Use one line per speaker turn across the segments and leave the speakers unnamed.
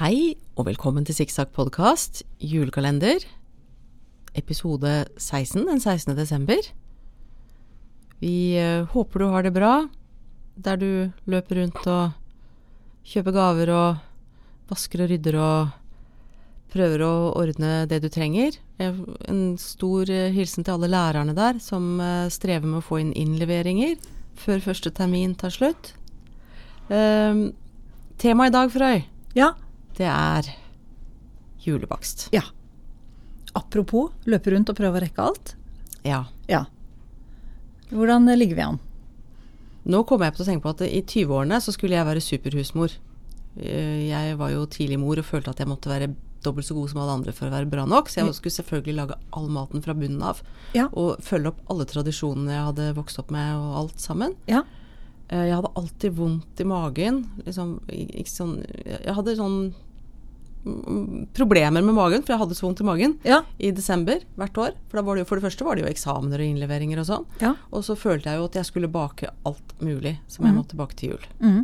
og velkommen til Sikksakk podkast, julekalender, episode 16 den 16. desember. Vi eh, håper du har det bra der du løper rundt og kjøper gaver og vasker og rydder og prøver å ordne det du trenger. Eh, En stor eh, hilsen til alle lærerne der som eh, strever med å få inn innleveringer før første termin tar slutt. Eh, Temaet i dag, Frøy,
Ja.
det er julebakst.
ja. Apropos løpe rundt og prøve å rekke alt.
Ja.
Ja. Hvordan eh, ligger vi an?
Nå kommer jeg på å tenke på at i 20-årene så skulle jeg være superhusmor. Eh, Jeg var jo tidlig mor og følte at jeg måtte være dobbelt så god som alle andre for å være bra nok, så jeg skulle selvfølgelig lage all maten fra bunnen av.
Ja.
Og følge opp alle tradisjonene jeg hadde vokst opp med og alt sammen.
Ja.
Eh, Jeg hadde alltid vondt i magen. Liksom, i- ikke sånn, jeg hadde sånn mm, problemer med magen, for jeg hadde så vondt i magen
Ja.
i desember hvert år. For, da var det jo, for det første var det jo eksamener og innleveringer og sånn.
Ja.
Og så følte jeg jo at jeg skulle bake alt mulig som jeg måtte bake til jul.
Mhm.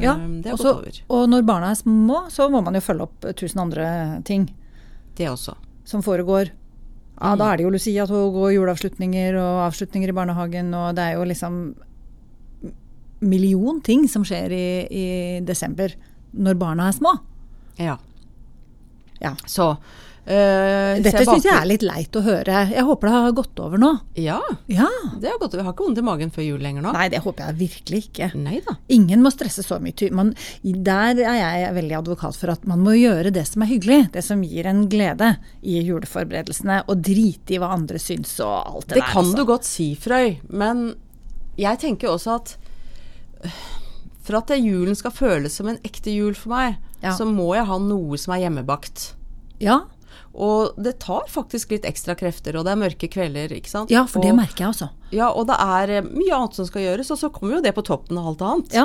ja.
Um, Det har
og så-
gått over.
Og når barna er små, så må man jo følge opp eh, tusen andre ting
Det også.
som foregår. Ja, Da er det jo Lucia-tog og juleavslutninger og avslutninger i barnehagen, og det er jo liksom million ting som skjer i, i desember når barna er små.
Ja.
Ja.
Så eh, så
Dette syns jeg
baker-
er litt leit å høre. Jeg håper det har gått over nå.
Ja.
Ja.
Det har gått over. Jeg har ikke vondt i magen før jul lenger nå.
Nei, det håper jeg virkelig ikke.
Nei da.
Ingen må stresse så mye. ty- Man, der er jeg veldig advokat for at man må gjøre det som er hyggelig, det som gir en glede i juleforberedelsene, og drite i hva andre syns og alt det,
Det
der.
kan
altså.
du godt si, Frøy, men jeg tenker jo også at øh, for at det julen skal føles som en ekte jul for meg,
Ja.
så må jeg ha noe som er hjemmebakt.
Ja,
Og det tar faktisk litt ekstra krefter, og det er mørke kvelder, ikke sant.
ja for det
og,
merker jeg altså. også.
ja, og det er eh, mye annet som skal gjøres, og så kommer jo det på toppen av alt annet.
Ja.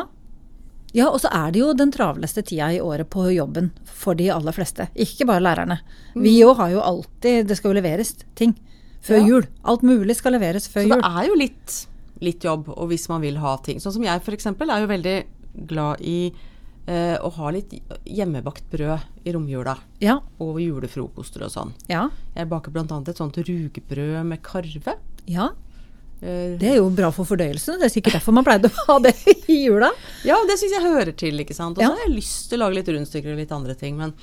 ja, og så er det jo den travleste tida i året på jobben for de aller fleste. Ikke bare lærerne.
Mm.
Vi jo har jo alltid Det skal jo leveres ting før
Ja.
jul. Alt mulig skal leveres før
Så det
jul.
er jo litt, litt jobb, og hvis man vil ha ting. Sånn som jeg f.eks. er jo veldig glad i eh, å ha litt hjemmebakt brød i romjula.
Ja.
Og julefrokoster og sånn.
Ja.
Jeg baker bl.a. et sånt rugbrød med karve.
ja.
Eh,
Det er jo bra for fordøyelsen. Det er sikkert derfor man pleide å ha det i jula.
ja, det syns jeg hører til, ikke sant. Og så
Ja.
har jeg lyst til å lage litt rundstykker og litt andre ting, men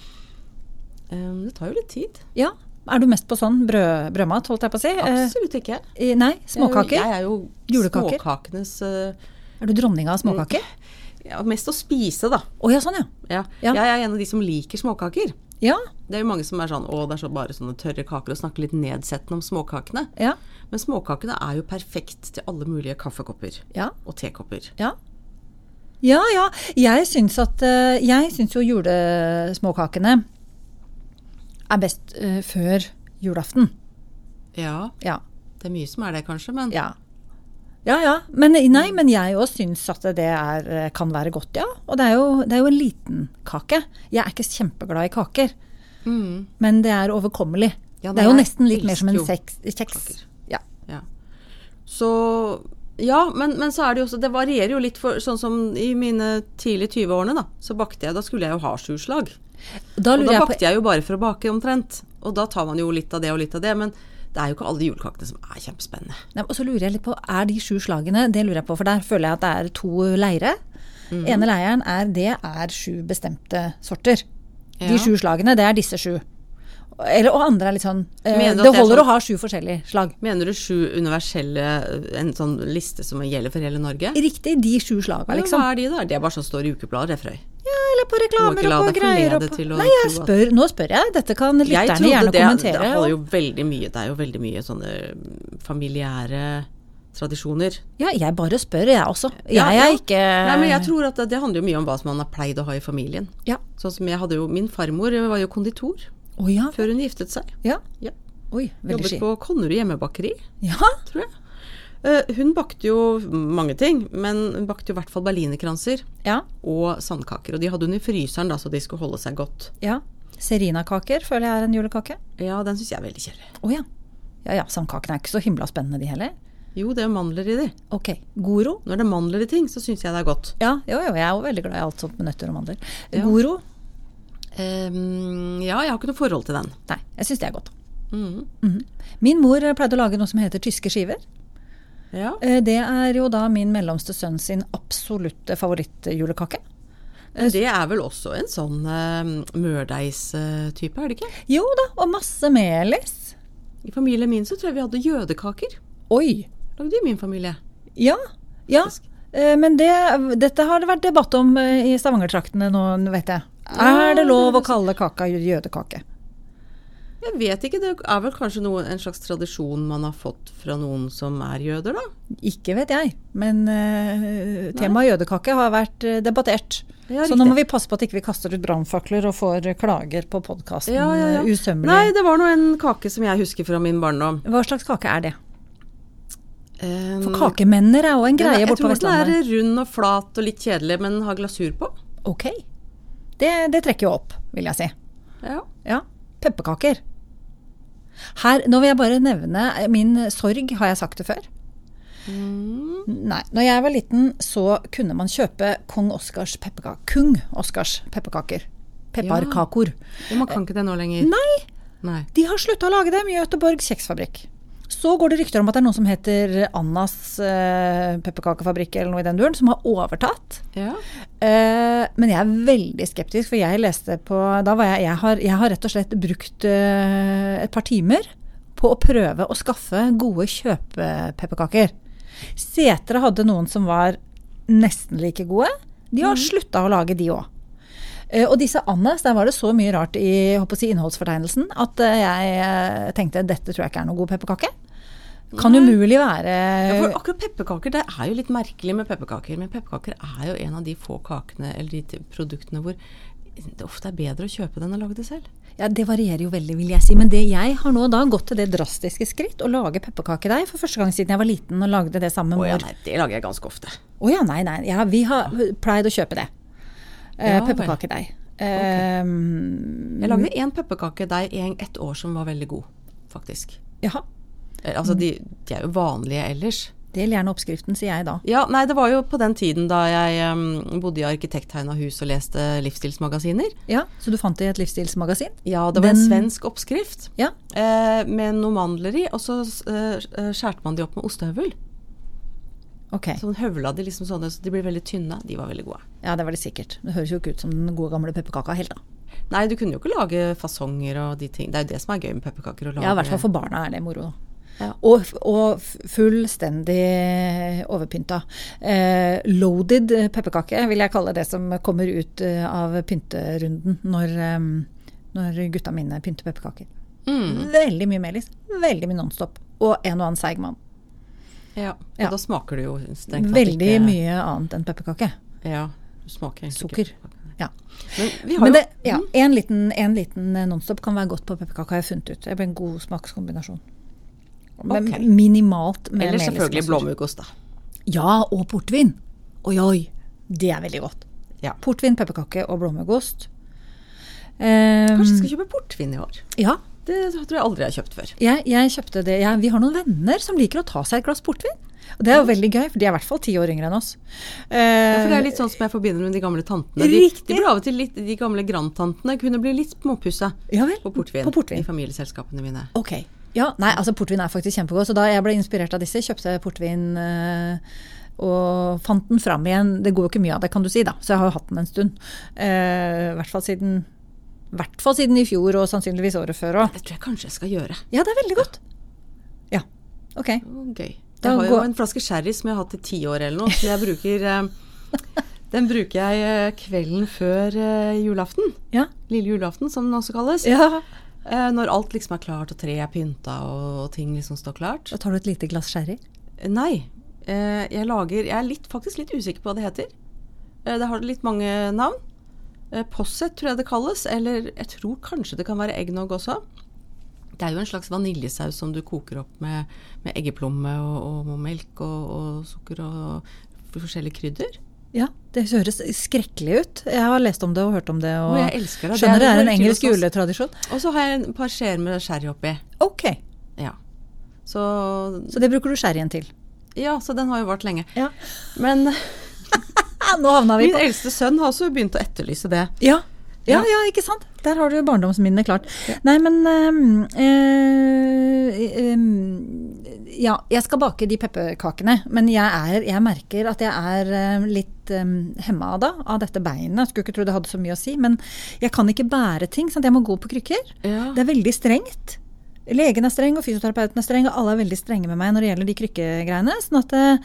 eh, det tar jo litt tid.
Ja. Er du mest på sånn brød, brødmat, holdt jeg på å si? Eh,
Absolutt ikke.
i- nei, småkaker?
Jeg er jo
Julekaker?
småkakenes eh,
Er du dronning av småkaker?
ja, Mest å spise, da.
Å ja, sånn ja.
Ja.
Ja.
Jeg er en av de som liker småkaker.
Ja.
Det er jo mange som er sånn 'Å, det er så bare sånne tørre kaker', og snakker litt nedsettende om småkakene.
Ja.
Men småkakene er jo perfekt til alle mulige kaffekopper.
Ja.
Og tekopper.
Ja. Ja, ja. Jeg syns at eh, Jeg syns jo julesmåkakene er best eh, før julaften.
Ja,
Ja.
det er mye som er det, kanskje, men
Ja. Ja, ja. Men, nei,
Mm.
men jeg òg syns at det er, eh, kan være godt, ja. Og det er, jo, det er jo en liten kake. Jeg er ikke kjempeglad i kaker,
Mhm.
men det er overkommelig.
Ja,
det,
nei,
er jo
jeg
nesten litt mer som en
elsker jo
seks, kjeks. Ja.
Ja. Så Ja, men, men så er det jo også Det varierer jo litt, for sånn som i mine tidlige 20-årene, da. Så bakte jeg Da skulle jeg jo ha sju slag.
Da
Og
lurer
da
jeg på
bakte jeg jo bare for å bake, omtrent. Og da tar man jo litt av det og litt av det. Men det er jo ikke alle de julekakene som er kjempespennende.
Nei, og så lurer jeg litt på, er de sju slagene Det lurer jeg på, for der føler jeg at det er to leire.
Mm.
Ene leiren er det er sju bestemte sorter.
Ja.
De sju slagene, det er disse sju. Eller, og andre er litt sånn eh,
Mener du at
Det
det er
holder
sånn-
å ha sju forskjellige slag.
Mener du sju universelle En sånn liste som gjelder for hele Norge?
Riktig, de sju slaga,
Liksom.
liksom.
Hva er de, da? Det er bare sånn står i ukeblader, det, Frøy.
Ja, eller på
Du må ikke
reklamer
la
og på
deg
greier og
forlede
på
til å
Nei, jeg
tro at-
spør, nå spør jeg. Dette kan
Jeg
lytterne
trodde
gjerne
det, det
kommentere.
holder
og-
jo veldig mye Det er jo veldig mye sånne familiære tradisjoner.
Ja, jeg bare spør, jeg også.
Ja,
Jeg er
ja.
ikke
Nei, men jeg tror at det, det handler jo mye om hva som man har pleid å ha i familien.
Ja.
Sånn som jeg hadde jo Min farmor var jo konditor
Å ja.
før hun giftet seg.
ja.
Ja.
Oi, veldig
Jobbet
ski.
på Konnerud hjemmebakeri,
Ja.
tror jeg. Eh, hun bakte jo mange ting, men hun bakte jo i hvert fall berlinerkranser
ja.
og sandkaker. Og de hadde hun i fryseren, da, så de skulle holde seg godt.
Ja. Serinakaker føler jeg er en julekake.
Ja, den syns jeg er veldig kjedelig.
Å ja. Ja ja, sandkakene er ikke så himla spennende de heller.
Jo, det er mandler i de.
Ok. Goro.
Når det er mandler i ting, så syns jeg det er godt.
Ja, jo jo, jeg er òg veldig glad i alt sånt med nøtter og mandler. Goro.
Ehm, ja, jeg har ikke noe forhold til den.
Nei, jeg syns det er godt.
Mhm.
Mhm. Min mor pleide å lage noe som heter tyske skiver.
Ja.
Eh, Det er jo da min mellomste sønn sin absolutte favorittjulekake.
Men Det er vel også en sånn uh, mørdeigstype, er det ikke?
Jo da, og masse melis.
I familien min så tror jeg vi hadde jødekaker.
Oi!
Lagde i min familie.
Ja. ja. Eh, Men det, dette har det vært debatt om eh, i Stavanger-traktene nå, vet jeg. Er
Ah,
det lov å kalle kaka jødekake?
Jeg vet ikke, det er vel kanskje noe, en slags tradisjon man har fått fra noen som er jøder, da?
Ikke vet jeg, men eh, temaet jødekake har vært eh, debattert.
Ja,
så nå må
riktig.
vi passe på at ikke vi kaster ut brannfakler og får eh, klager på eh, podkasten
Ja, ja, ja.
usømmelig.
Nei, det var nå en kake som jeg husker fra min barndom.
Hva slags kake er det?
Um,
For kakemenner er jo en greie
jeg
borte på
tror den
Vestlandet.
er rund og flat og litt kjedelig, men har glasur på.
Ok. Det, det trekker jo opp, vil jeg si.
Ja.
Ja. Pepperkaker. Her, nå vil jeg bare nevne eh, min sorg, har jeg sagt det før? Nei. Når jeg var liten, så kunne man kjøpe Kong Oscars pepperkaker. Kung Oscars pepperkaker. Pepperkakor.
Og man kan ikke det nå lenger.
Nei,
Nei.
de har slutta å lage dem i Göteborg kjeksfabrikk. Så går det rykter om at det er noen som heter Annas eh, pepperkakefabrikk eller noe i den duren, som har overtatt.
Ja.
Eh, men jeg er veldig skeptisk, for jeg leste på Da var jeg Jeg har, jeg har rett og slett brukt eh, et par timer på å prøve å skaffe gode kjøpepepperkaker. Setra hadde noen som var nesten like gode. De
Mm.
har slutta å lage de òg. Eh, Og disse Annas, der var det så mye rart i håper jeg, å si, innholdsfortegnelsen at eh, jeg eh, tenkte dette tror jeg ikke er noen god pepperkake. Kan umulig være
Ja, for akkurat pepperkaker, det er jo litt merkelig med pepperkaker. Men pepperkaker er jo en av de få kakene eller de t- produktene hvor det ofte er bedre å kjøpe det enn å lage det selv.
Ja, Det varierer jo veldig, vil jeg si. Men det jeg har nå da gått til det drastiske skritt å lage pepperkakedeig for første gang siden jeg var liten og lagde det sammen
Å
med
ja,
mor.
nei, det lager jeg ganske ofte.
Å ja, nei, nei. Ja, vi har pleid å kjøpe det. Eh,
Ja vel.
pepperkakedeig. Ehm,
Jeg lagde én pepperkakedeig i ett år som var veldig god, faktisk.
jaha.
Eh, Altså, de, de er jo vanlige ellers.
Del gjerne oppskriften, sier jeg da.
Ja, nei, det var jo på den tiden da jeg em, bodde i arkitekttegna hus og leste livsstilsmagasiner.
Ja, Så du fant det i et livsstilsmagasin?
Ja, det var en
Den-
svensk oppskrift
Ja.
eh, med noen mandler i, og så eh, skjærte man de opp med ostehøvel.
Ok.
Sånn høvla de liksom sånne, så de blir veldig tynne. De var veldig gode.
Ja, det var det sikkert. Det høres jo ikke ut som den gode gamle pepperkaka helt, da.
Nei, du kunne jo ikke lage fasonger og de ting. Det er jo det som er gøy med pepperkaker. å lage.
Ja, i hvert fall for barna er det moro. da.
Ja.
Og, f- og f- fullstendig overpynta. Eh, loaded pepperkake vil jeg kalle det som kommer ut eh, av pynterunden når, eh, når gutta mine pynter pepperkaker.
Mm.
Veldig mye melis, veldig mye Nonstop og en og annen seig mann.
Ja, og
Ja.
da smaker det jo strengt tatt
Veldig
ikke-
mye annet enn pepperkake.
Ja, du smaker egentlig
Sukker.
ikke pepperkaker.
Ja.
Men vi har
Men det,
jo Mm.
ja, en liten, en liten Nonstop kan være godt på pepperkake, har jeg funnet ut. Det blir en god smakskombinasjon. Men
Ok.
minimalt med
Eller
melis-
selvfølgelig blåmuggost, da.
Ja, og portvin. Oi, oi. Det er veldig godt.
Ja.
Portvin, pepperkake og blåmuggost. Ehm,
Kanskje vi skal kjøpe portvin i år.
ja,
Det tror jeg aldri jeg har kjøpt før.
jeg, jeg kjøpte det. Jeg, vi har noen venner som liker å ta seg et glass portvin. Og det er jo veldig gøy, for de er i hvert fall ti år yngre enn oss.
Ja, for Det
Eh,
er litt sånn som jeg forbinder med de gamle tantene. De, de
Riktig.
ble av og til litt, de gamle grandtantene kunne bli litt småpussa
Ja vel,
på portvin
på portvin.
i familieselskapene mine.
ok. Ja, nei, altså portvin er faktisk kjempegod, så da jeg ble inspirert av disse, kjøpte jeg portvin eh, og fant den fram igjen. Det går jo ikke mye av det, kan du si, da, så jeg har jo hatt den en stund. Eh, I hvert fall siden i hvert fall siden i fjor, og sannsynligvis året før òg.
Det tror jeg kanskje jeg skal gjøre.
Ja, det er veldig godt. Ja. Ok.
Det var Gøy.
Da
Jeg har jo
går-
en flaske sherry som jeg har hatt i ti år eller noe, som jeg bruker eh, Den bruker jeg eh, kvelden før eh, julaften.
Ja.
Lille julaften, som den også kalles. Eh, Når alt liksom er klart, og treet er pynta, og og ting liksom står klart.
Da tar du et lite glass sherry.
Nei. eh, Jeg lager Jeg er litt, faktisk litt usikker på hva det heter. Eh, Det har litt mange navn. Eh, Posset tror jeg det kalles, eller jeg tror kanskje det kan være eggnog også. Det er jo en slags vaniljesaus som du koker opp med, med eggeplomme og, og melk og, og sukker og forskjellige krydder.
Ja, det høres skrekkelig ut. Jeg har lest om det og hørt om det. Og
Å, jeg elsker det. Det er
Skjønner det er
bare
en engelsk
til å-
juletradisjon.
Og så har jeg et par skjeer med sherry oppi.
Ok,
Ja. Så
så det bruker du sherryen til.
Ja, så den har jo vart lenge.
Ja.
Men
Ah, Nå havna vi
min
på
eldste sønn har også begynt å etterlyse det.
Ja. Ja, ja, ikke sant? Der har du barndomsminnene klart. Nei, men ehm, eh, ehm, Ja, jeg skal bake de pepperkakene, men jeg, er, jeg merker at jeg er eh, litt um, hemma da, av dette beinet. Skulle ikke tro det hadde så mye å si, men jeg kan ikke bære ting. Sant? Jeg må gå på krykker.
Ja.
Det er veldig strengt. Legen er streng, og fysioterapeuten er streng, og alle er veldig strenge med meg når det gjelder de krykkegreiene. Sånn at, eh,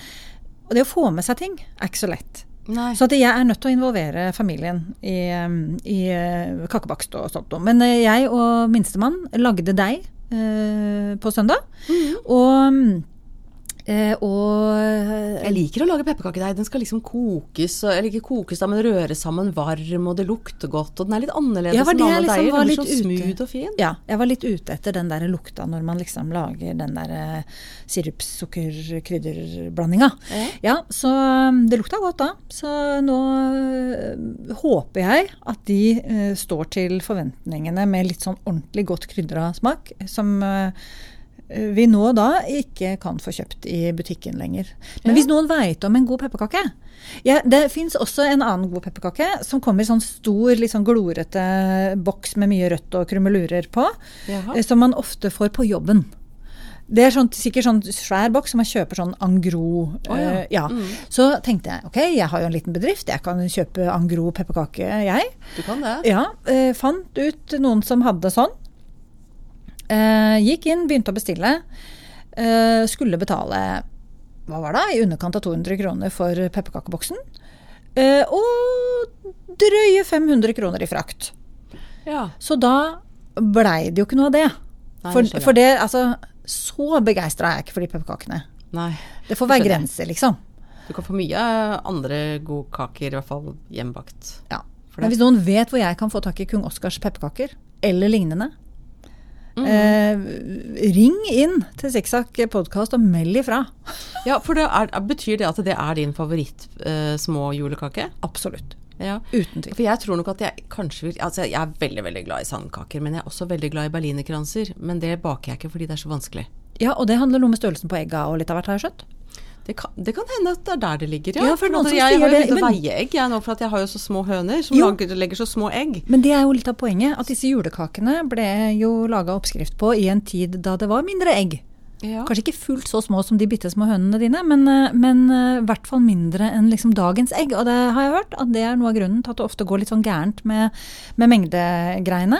og det å få med seg ting er ikke så lett.
Nei.
Så at jeg er nødt til å involvere familien i, um, i uh, kakebakst og sånt. noe. Men eh, jeg og minstemann lagde deig eh, på søndag. Og, um, eh, og
Jeg liker å lage pepperkakedeig. Den skal liksom kokes, og- eller ikke kokes, da, men røres sammen varm, og det lukter godt, og den er litt annerledes
Ja, for
enn
det
alle
liksom
deiger.
var
Den blir
litt
sånn
ute.
smooth og fin.
Ja, jeg var litt ute etter den der lukta når man liksom lager den der eh, sirupssukkerkrydderblandinga.
Ja.
Ja, så um, det lukta godt da. Så nå øh, håper jeg at de øh, står til forventningene med litt sånn ordentlig godt krydra smak, som øh, vi nå da ikke kan få kjøpt i butikken lenger. Men hvis noen veit om en god pepperkake ja, Det fins også en annen god pepperkake som kommer i sånn stor, litt sånn glorete boks med mye rødt og krumelurer på,
Jaha.
eh, som man ofte får på jobben. Det er sånn, sikkert sånn svær boks som man kjøper sånn angro
Å, ja. Mm.
eh, ja. Så tenkte jeg ok, jeg har jo en liten bedrift, jeg kan kjøpe angro pepperkake, jeg.
Du kan det.
Ja, eh, Fant ut noen som hadde sånn. Eh, gikk inn, begynte å bestille. Eh, skulle betale hva var det, i underkant av 200 kroner for pepperkakeboksen. Eh, og drøye 500 kroner i frakt.
Ja.
Så da blei det jo ikke noe av det.
Nei, det skjønner
For, for det, altså Så begeistra er jeg ikke for de pepperkakene.
Nei.
Det får være
skjønner jeg.
grenser, liksom.
Du kan få mye eh, andre gode kaker, i hvert fall hjemmebakt.
Ja.
For
Men
det-
hvis noen vet hvor jeg kan få tak i Kung Oscars pepperkaker, eller lignende, eh, ring inn til Sikksakk podkast og meld ifra.
Ja, for det er, Betyr det at det er din favoritt eh, små julekake?
Absolutt.
Ja.
Uten tvil.
For jeg tror nok at jeg kanskje vil Altså, jeg er veldig, veldig glad i sandkaker, men jeg er også veldig glad i berlinerkranser. Men det baker jeg ikke fordi det er så vanskelig.
Ja, og det handler noe med størrelsen på egga og litt av hvert, har jeg skjønt.
Det kan, det kan hende at det er der det ligger, ja.
Ja, for noen
at
som
jeg
sier
har jo
det,
begynt å
men-
veie egg jeg nå, for at jeg har jo så små høner som
Jo.
lager, legger så små egg.
Men det er jo litt av poenget, at disse julekakene ble jo laga oppskrift på i en tid da det var mindre egg.
Ja.
Kanskje ikke fullt så små som de bitte små hønene dine, men, eh, men eh, i hvert fall mindre enn liksom dagens egg. Og det har jeg hørt at det er noe av grunnen til at det ofte går litt sånn gærent med, med mengdegreiene.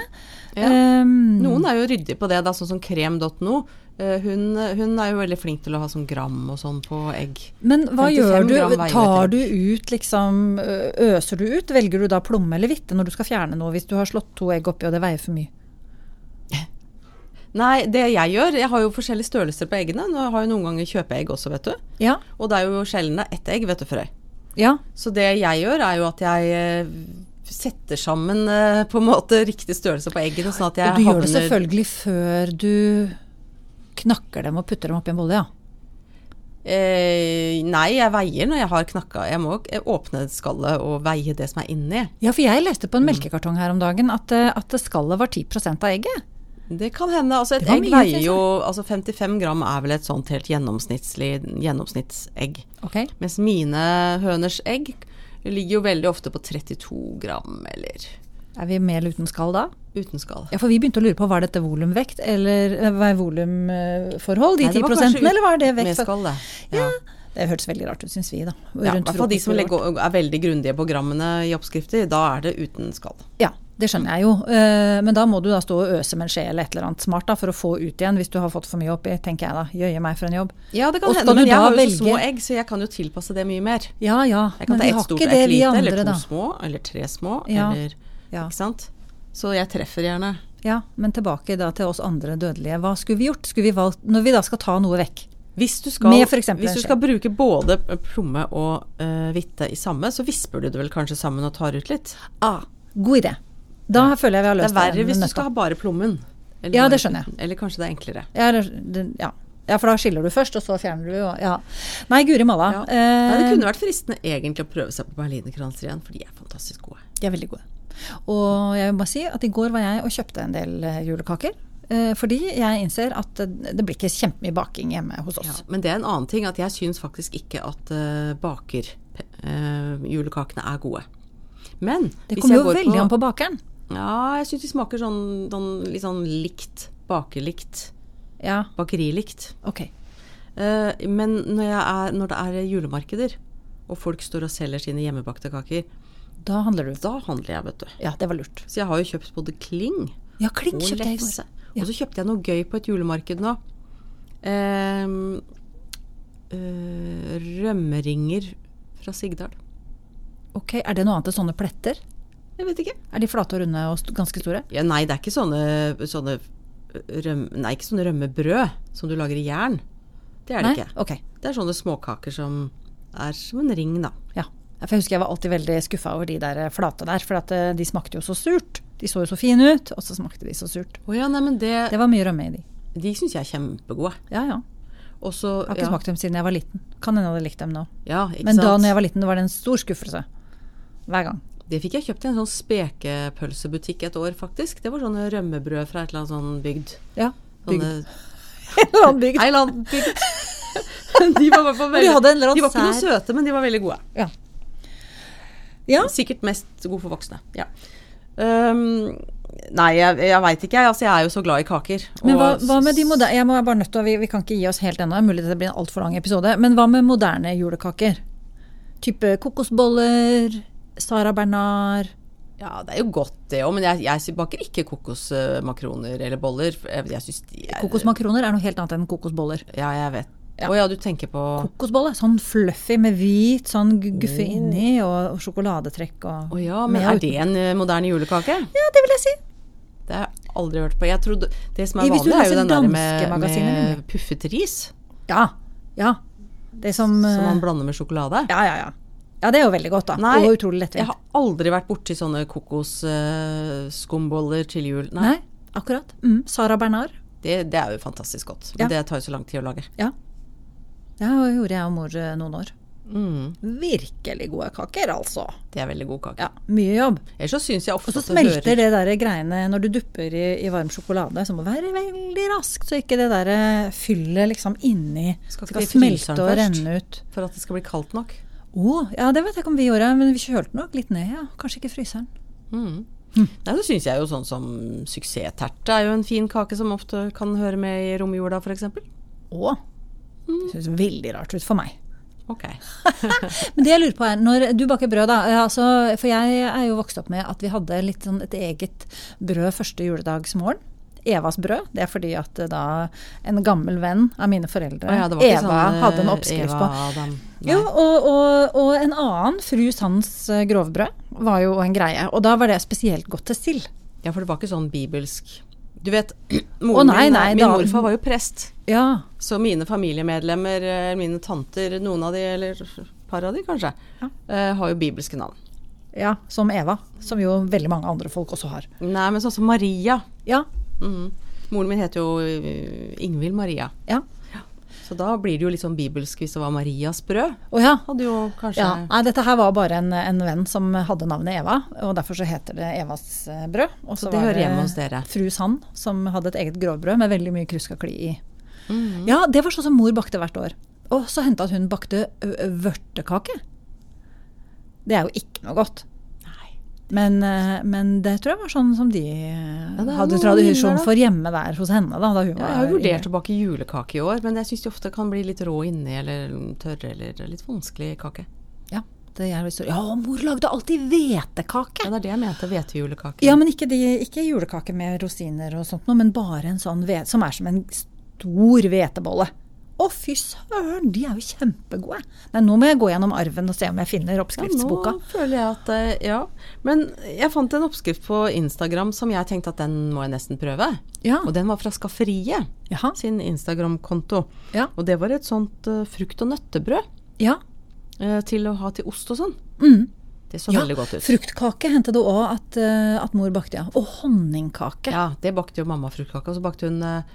Ja.
Ehm,
Noen er jo ryddige på det, da, sånn som krem.no. Eh, Hun, hun er jo veldig flink til å ha sånn gram og sånn på egg.
men hva
55
gjør
gram
du?
veier
Tar
et
du ut liksom ø, Øser du ut? Velger du da plomme eller hvitte når du skal fjerne noe, hvis du har slått to egg oppi og det veier for mye?
Nei, det jeg gjør Jeg har jo forskjellige størrelser på eggene. Nå har jeg noen ganger kjøpeegg også, vet du.
Ja.
Og det er jo sjelden det er ett egg, vet du, Frøy.
Ja.
Så det jeg gjør, er jo at jeg eh, setter sammen eh, på en måte riktig størrelse på eggene, sånn at jeg
Og du gjør det
havner-
selvfølgelig før du knakker dem og putter dem oppi en bolle, ja.
Eh, nei, jeg veier når jeg har knakka. Jeg må eh, åpne skallet og veie det som er inni.
Ja, for jeg leste
Mm.
på en melkekartong her om dagen at, eh, at skallet var 10 av egget.
Det kan hende. Altså, et
Det var
egg
mye,
veier
synes jeg.
jo altså 55 gram er vel et sånt helt gjennomsnittlig gjennomsnittsegg.
Ok.
Mens mine høners egg ligger jo veldig ofte på 32 gram eller
Er vi med eller uten skall da?
uten skall.
Ja, for vi begynte å lure på var dette volumvekt eller eh, var volumforhold, de
Nei, det
10
var kanskje ut-
eller var det
Med
vekt?
skall, det.
Ja. Det hørtes veldig rart ut, syns vi, da.
Ja, I
Rundt
hvert fall de som
frokost-
legger, er veldig grundige på grammene i oppskrifter. Da er det uten skall.
Ja, det skjønner jeg jo. Eh, Men da må du da stå og øse med en skje eller et eller annet smart da, for å få ut igjen hvis du har fått for mye oppi, tenker jeg da. Jøye meg for en jobb.
Ja, det kan
Og
hende,
skal
men
du
jeg
da
har jo
velge-
så små egg, så jeg kan jo tilpasse det mye mer.
Ja ja,
Jeg kan
men
ta
vi
ett
har
stort,
ikke
ett
det, vi
lite, eller to
andre, da.
små, eller tre små,
Ja.
eller
Ja.
Ikke sant? Så jeg treffer gjerne.
ja, men tilbake da til oss andre dødelige. Hva skulle vi gjort? Skulle vi valgt, når vi da skal ta noe vekk?
Hvis du skal,
Med for eksempel
hvis
en
du skal bruke både plomme og eh, hvitte i samme, så visper du det vel kanskje sammen og tar ut litt?
Ah, god idé. Da føler jeg vi har
Det er
løst
verre
den
hvis du
nøtta.
skal ha bare plommen. Eller
Ja,
bare
det skjønner jeg.
hvitten. Eller kanskje det er enklere.
ja, eller- det- ja. ja, for da skiller du først, og så fjerner du. Og, ja. Nei, guri malla.
Ja.
Eh,
Nei, det kunne vært fristende egentlig å prøve seg på berlinerkranser igjen, for de er fantastisk gode.
De er veldig gode. Og jeg vil bare si at i går var jeg og kjøpte en del eh, julekaker. eh, Fordi jeg innser at eh, det blir ikke kjempemye baking hjemme hos
Ja,
oss.
men det er en annen eh, ting at jeg syns faktisk ikke at bakerjulekakene eh, er gode. Men
Det
hvis
kommer
jeg
jo
går
veldig an på bakeren.
Ja, jeg syns de smaker sånn, sånn litt sånn likt. Bakelikt.
Ja,
Bakerilikt.
ok.
Eh, men når, jeg er, når det er julemarkeder, og folk står og selger sine hjemmebakte kaker,
Da handler du.
da handler jeg, vet du.
Ja, det var lurt.
Så jeg har jo kjøpt både kling
Ja, kling
og
kjøpte jeg i går.
lefse. Og så kjøpte jeg noe gøy på et julemarked nå. Ehm, eh, rømmeringer fra Sigdal.
Ok, Er det noe annet enn sånne pletter?
Jeg vet ikke.
Er de flate og runde og st ganske store?
Ja, nei, det er ikke sånne, sånne røm, Nei, ikke sånne rømmebrød som du lager i jern. Det er det
Nei?
ikke.
Ok.
Det er sånne småkaker som er som en ring, da.
Ja. For jeg husker jeg var alltid veldig skuffa over de der flate der, for at eh, de smakte jo så surt. De så jo så fine ut, og så smakte de så surt.
Å ja, nei, men det,
Det var mye rømme i de.
De syns jeg er kjempegode.
Ja, ja.
Og så
Jeg har ikke
ja,
smakt dem siden jeg var liten. Kan hende jeg hadde likt dem nå.
ja, ikke
Men da
sant?
når jeg var liten, det var det en stor skuffelse. Hver gang.
Det fikk jeg kjøpt i en sånn spekepølsebutikk et år, faktisk. Det var sånne rømmebrød fra et eller annet sånn bygd.
Ja.
Sånne,
Bygd. En eller annen bygd.
Ei eller annen bygd. De var i hvert fall
Og de
veldig
hadde en eller
De var ikke
annen
noe
sær
søte, men de var veldig gode.
Ja. Ja.
Sikkert mest gode for voksne. Ja. Ehm, nei, jeg, jeg veit ikke. jeg. Altså, jeg er jo så glad i kaker.
Men
og
hva, hva med de
s-
moderne jeg må jeg er bare nødt til å, vi, vi kan ikke gi oss helt ennå, det er mulig dette blir en altfor lang episode. Men hva med moderne julekaker? Type kokosboller, Sara Bernard
Ja, det er jo godt det òg, men jeg, jeg baker ikke kokosmakroner eller boller. Jeg, jeg synes de er
Kokosmakroner er noe helt annet enn kokosboller.
Ja, jeg vet. Å
Ja.
ja. du tenker på Å
Kokosbolle, sånn fluffy med hvit sånn gu- guffe inni, og, og sjokoladetrekk og
ja, men
Med og
er det en eh, moderne julekake?
Ja, det vil jeg si.
Det har jeg aldri hørt på. Jeg trodde, det som er
I- hvis du
vanlig, er jo
leser
den der
danske
med,
magasiner,
med
nemlig.
puffet ris,
Ja. Ja. Det som,
som man
eh,
blander med sjokolade.
Ja, ja, ja. Ja, det er jo veldig godt, da.
Nei.
Og utrolig
Jeg
lettvint.
har aldri vært borti sånne kokosskumboller til jul. Nei,
Nei, akkurat. Mm. Sara Bernard.
Det, det er jo fantastisk godt. Men det tar jo så lang tid å lage.
Ja. Det gjorde jeg og mor eh, noen år.
Mm,
Virkelig gode kaker, altså.
det er veldig god kake.
Ja, mye jobb.
Ellers så syns jeg ofte
Og så
at det
smelter
hører
det der greiene når du dupper i, i varm sjokolade, så må det være veldig raskt, så ikke det der eh, fyllet liksom inni
Skal
skal,
ikke det i
smelte
fryseren
og
først?
renne ut.
for at det skal bli kaldt nok.
Å, ja, det vet jeg ikke om vi gjorde, men vi kjølte nok litt ned, ja. Kanskje ikke i fryseren.
Mm. Nei, så syns jeg jo sånn som suksessterte er jo en fin kake som ofte kan høre med i romjula, f.eks.
Å. Det høres veldig rart ut for meg.
Ok.
Men det jeg lurer på er, når du baker brød, da eh, altså, For jeg er jo vokst opp med at vi hadde litt sånn et eget brød første juledagsmorgen. Evas brød. Det er fordi at eh, da en gammel venn av mine foreldre,
Å ja, det var ikke
Eva,
sånn, eh,
hadde en oppskrift
Eva,
på.
Adam. Nei.
Jo, og, og, og en annen, fru Sands eh, grovbrød, var jo en greie. Og da var det spesielt godt til sild.
Ja, for det var ikke sånn bibelsk Du vet, moren
nei,
min,
nei,
min
da-
morfar var jo prest.
Ja.
Så mine familiemedlemmer, eh, mine tanter, noen av de, eller par av de kanskje,
Ja.
eh, har jo bibelske navn.
ja. Som Eva. Som jo veldig mange andre folk også har.
Nei, men sånn som Maria.
Ja.
Mhm. Moren min heter jo eh, Ingvild Maria.
Ja.
Så da blir det jo litt sånn bibelsk hvis det var Marias brød.
Å ja.
Hadde jo kanskje
Ja, nei, dette her var bare en, en venn som hadde navnet Eva, og derfor så heter det Evas eh, brød. Og
Så det
var
hører hjemme hos dere.
Fru Sand, som hadde et eget grovbrød med veldig mye krusk og kli i.
Mhm.
Ja, det var sånn som mor bakte hvert år. Og så hendte at hun bakte ø, ø, vørtekake. Det er jo ikke noe godt.
Nei.
Men, eh, men det tror jeg var sånn som de eh,
det er
hadde
noen minner,
tradisjon
da.
for hjemme der hos henne. Da, da hun
Ja,
var
jeg har
yngre.
vurdert å bake julekake i år, men jeg syns de ofte kan bli litt rå inni, eller tørre, eller litt vanskelig kake.
Ja, det er, litt så- ja, mor lagde alltid hvetekake!
Ja, det er det jeg mente. Hvetejulekake.
Ja, men ikke, de, ikke julekake med rosiner og sånt noe, men bare en sånn hve- som er som en stor hvetebolle. Å, fy søren, de er jo kjempegode. Nei, nå må jeg gå gjennom arven og se om jeg finner oppskriftsboka.
Ja, nå føler jeg at eh, Ja. Men jeg fant en oppskrift på Instagram som jeg tenkte at den må jeg nesten prøve.
Ja.
Og den var fra Skafferiet
Jaha.
sin Instagram-konto.
Ja.
Og det var et sånt eh, frukt- og nøttebrød
Ja.
eh, til å ha til ost og sånn.
Mm.
Det så
ja.
veldig godt ut.
Fruktkake hendte det òg at, eh, at mor bakte, ja. Og honningkake.
Ja, det bakte jo mamma fruktkake, og så bakte hun eh,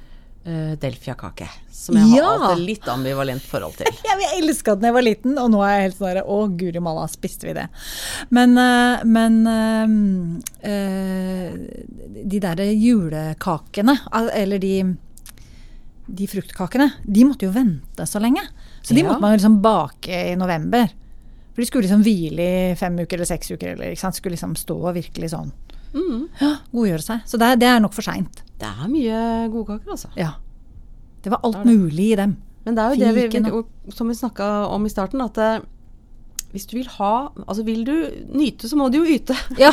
eh, delfiakake. Som jeg
Ja.
har hatt et litt ambivalent forhold til.
Jeg, jeg elska den da jeg var liten, og nå er jeg helt sånn derre, Å, guri malla, spiste vi det? Men, eh, men eh, eh, De derre julekakene, al- eller de, de fruktkakene, de måtte jo vente så lenge. Så de
Ja.
måtte man jo liksom bake i november. For de skulle liksom hvile i fem uker eller seks uker. Eller, ikke sant? Skulle liksom stå og virkelig sånn
Mm.
ja, godgjøre seg. Så det, er- det er nok for seint.
Det er mye godkaker, altså.
Ja. Det var alt mulig i dem.
Men det er jo det vi,
Fiken
vi, og- som vi snakka om i starten, at eh, hvis du vil ha Altså vil du nyte, så må du jo yte.
Ja.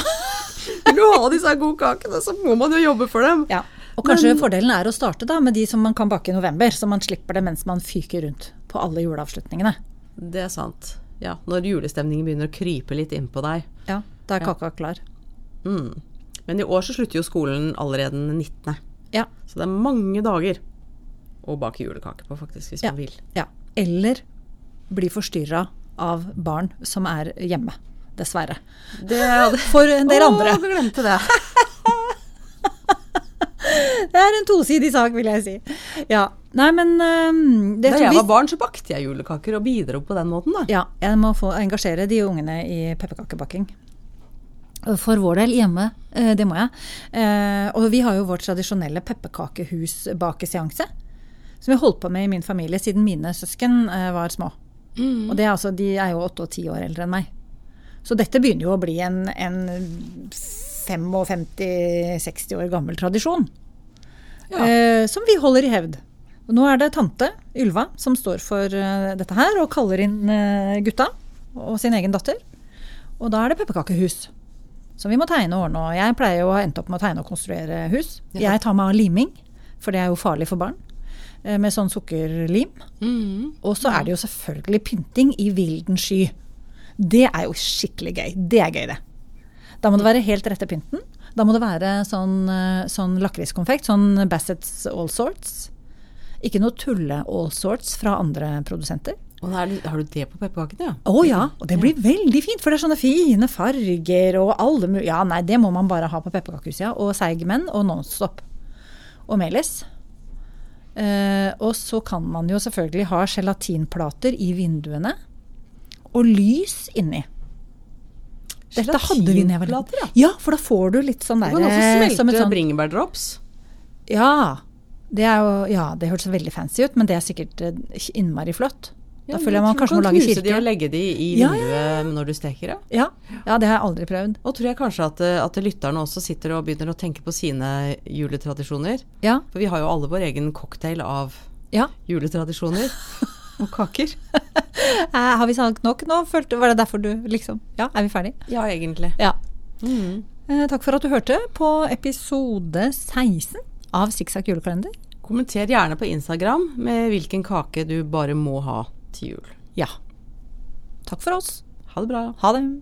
Vil du ha disse godkakene, så må man jo jobbe for dem.
ja. Og kanskje
Men-
fordelen er å starte da med de som man kan bake i november, så man slipper det mens man fyker rundt på alle juleavslutningene.
Det er sant. Ja, når julestemningen begynner å krype litt innpå deg.
Ja, Da er kaka klar.
Mm. Men i år så slutter jo skolen allerede den 19.
Ja.
Så det er mange dager å bake julekake på, faktisk, hvis
Ja.
man vil.
ja. Eller bli forstyrra av barn som er hjemme. Dessverre.
Det hadde
For en del andre.
Å, glemte det.
Det er en tosidig sak, vil jeg si. Ja. Nei, men øhm, det
Da
tror
jeg
vi-
var barn, så bakte jeg julekaker og bidro på den måten, da.
Ja, jeg må få engasjere de ungene i pepperkakebaking. For vår del hjemme, eh, det må jeg. Eh, Og vi har jo vår tradisjonelle pepperkakehusbakeseanse. Som vi har holdt på med i min familie siden mine søsken eh, var små. Og det er altså, de er jo åtte og ti år eldre enn meg. Så dette begynner jo å bli en, en 55-60 år gammel tradisjon.
Ja.
Eh, som vi holder i hevd. Og nå er det tante Ylva som står for eh, dette her, og kaller inn eh, gutta og sin egen datter. Og da er det pepperkakehus. Som vi må tegne og ordne. Og jeg pleier jo å ha endt opp med å tegne og konstruere hus.
Ja.
Jeg tar meg av liming, for det er jo farlig for barn. eh, Med sånn sukkerlim.
Mm.
Og så er det jo selvfølgelig pynting i vilden sky. Det er jo skikkelig gøy. Det er gøy, det. Da må det være helt rette pynten. Da må det være sånn, eh, sånn lakriskonfekt, sånn Bassett's All Sorts. Ikke noe tulle All Sorts fra andre produsenter.
Og da er det- har du det på pepperkakene, ja?
Å ja,
Mm.
og det blir veldig fint, for det er sånne fine farger og alle mulige Ja, nei, det må man bare ha på pepperkakehuset, ja. Og Seigmenn og Nonstop. Og Melis. Eh, og så kan man jo selvfølgelig ha gelatinplater i vinduene. Og lys inni. Dette hadde vi da jeg var
Gelatinplater, ja.
liten. Ja, for da får du litt sånn
Du
der
kan også
eh, som et
smelte
sånn-
bringebærdrops.
ja. Det, er jo, ja, det hørtes veldig fancy ut, men det er sikkert eh, innmari flott. Da
Ja,
føler jeg
jeg
man
tror du
kanskje må
kan
lage
knuse De og
kirke.
legge de i
Ja,
vinduet når du steker det.
Ja, ja, det har jeg aldri prøvd.
Og tror jeg kanskje at, eh, at lytterne også sitter og begynner å tenke på sine juletradisjoner.
Ja,
For vi har jo alle vår egen cocktail av
ja.
juletradisjoner og kaker.
Eh, Har vi sagt nok nå? Følte, var det derfor du liksom Ja, er vi ferdig?
Ja, egentlig.
Ja.
Mm.
Eh, takk for at du hørte på episode 16 av Sikksakk julekalender.
Kommenter gjerne på Instagram med hvilken kake du bare må ha til jul.
Ja. Takk for oss.
Ha det bra.
Ha det.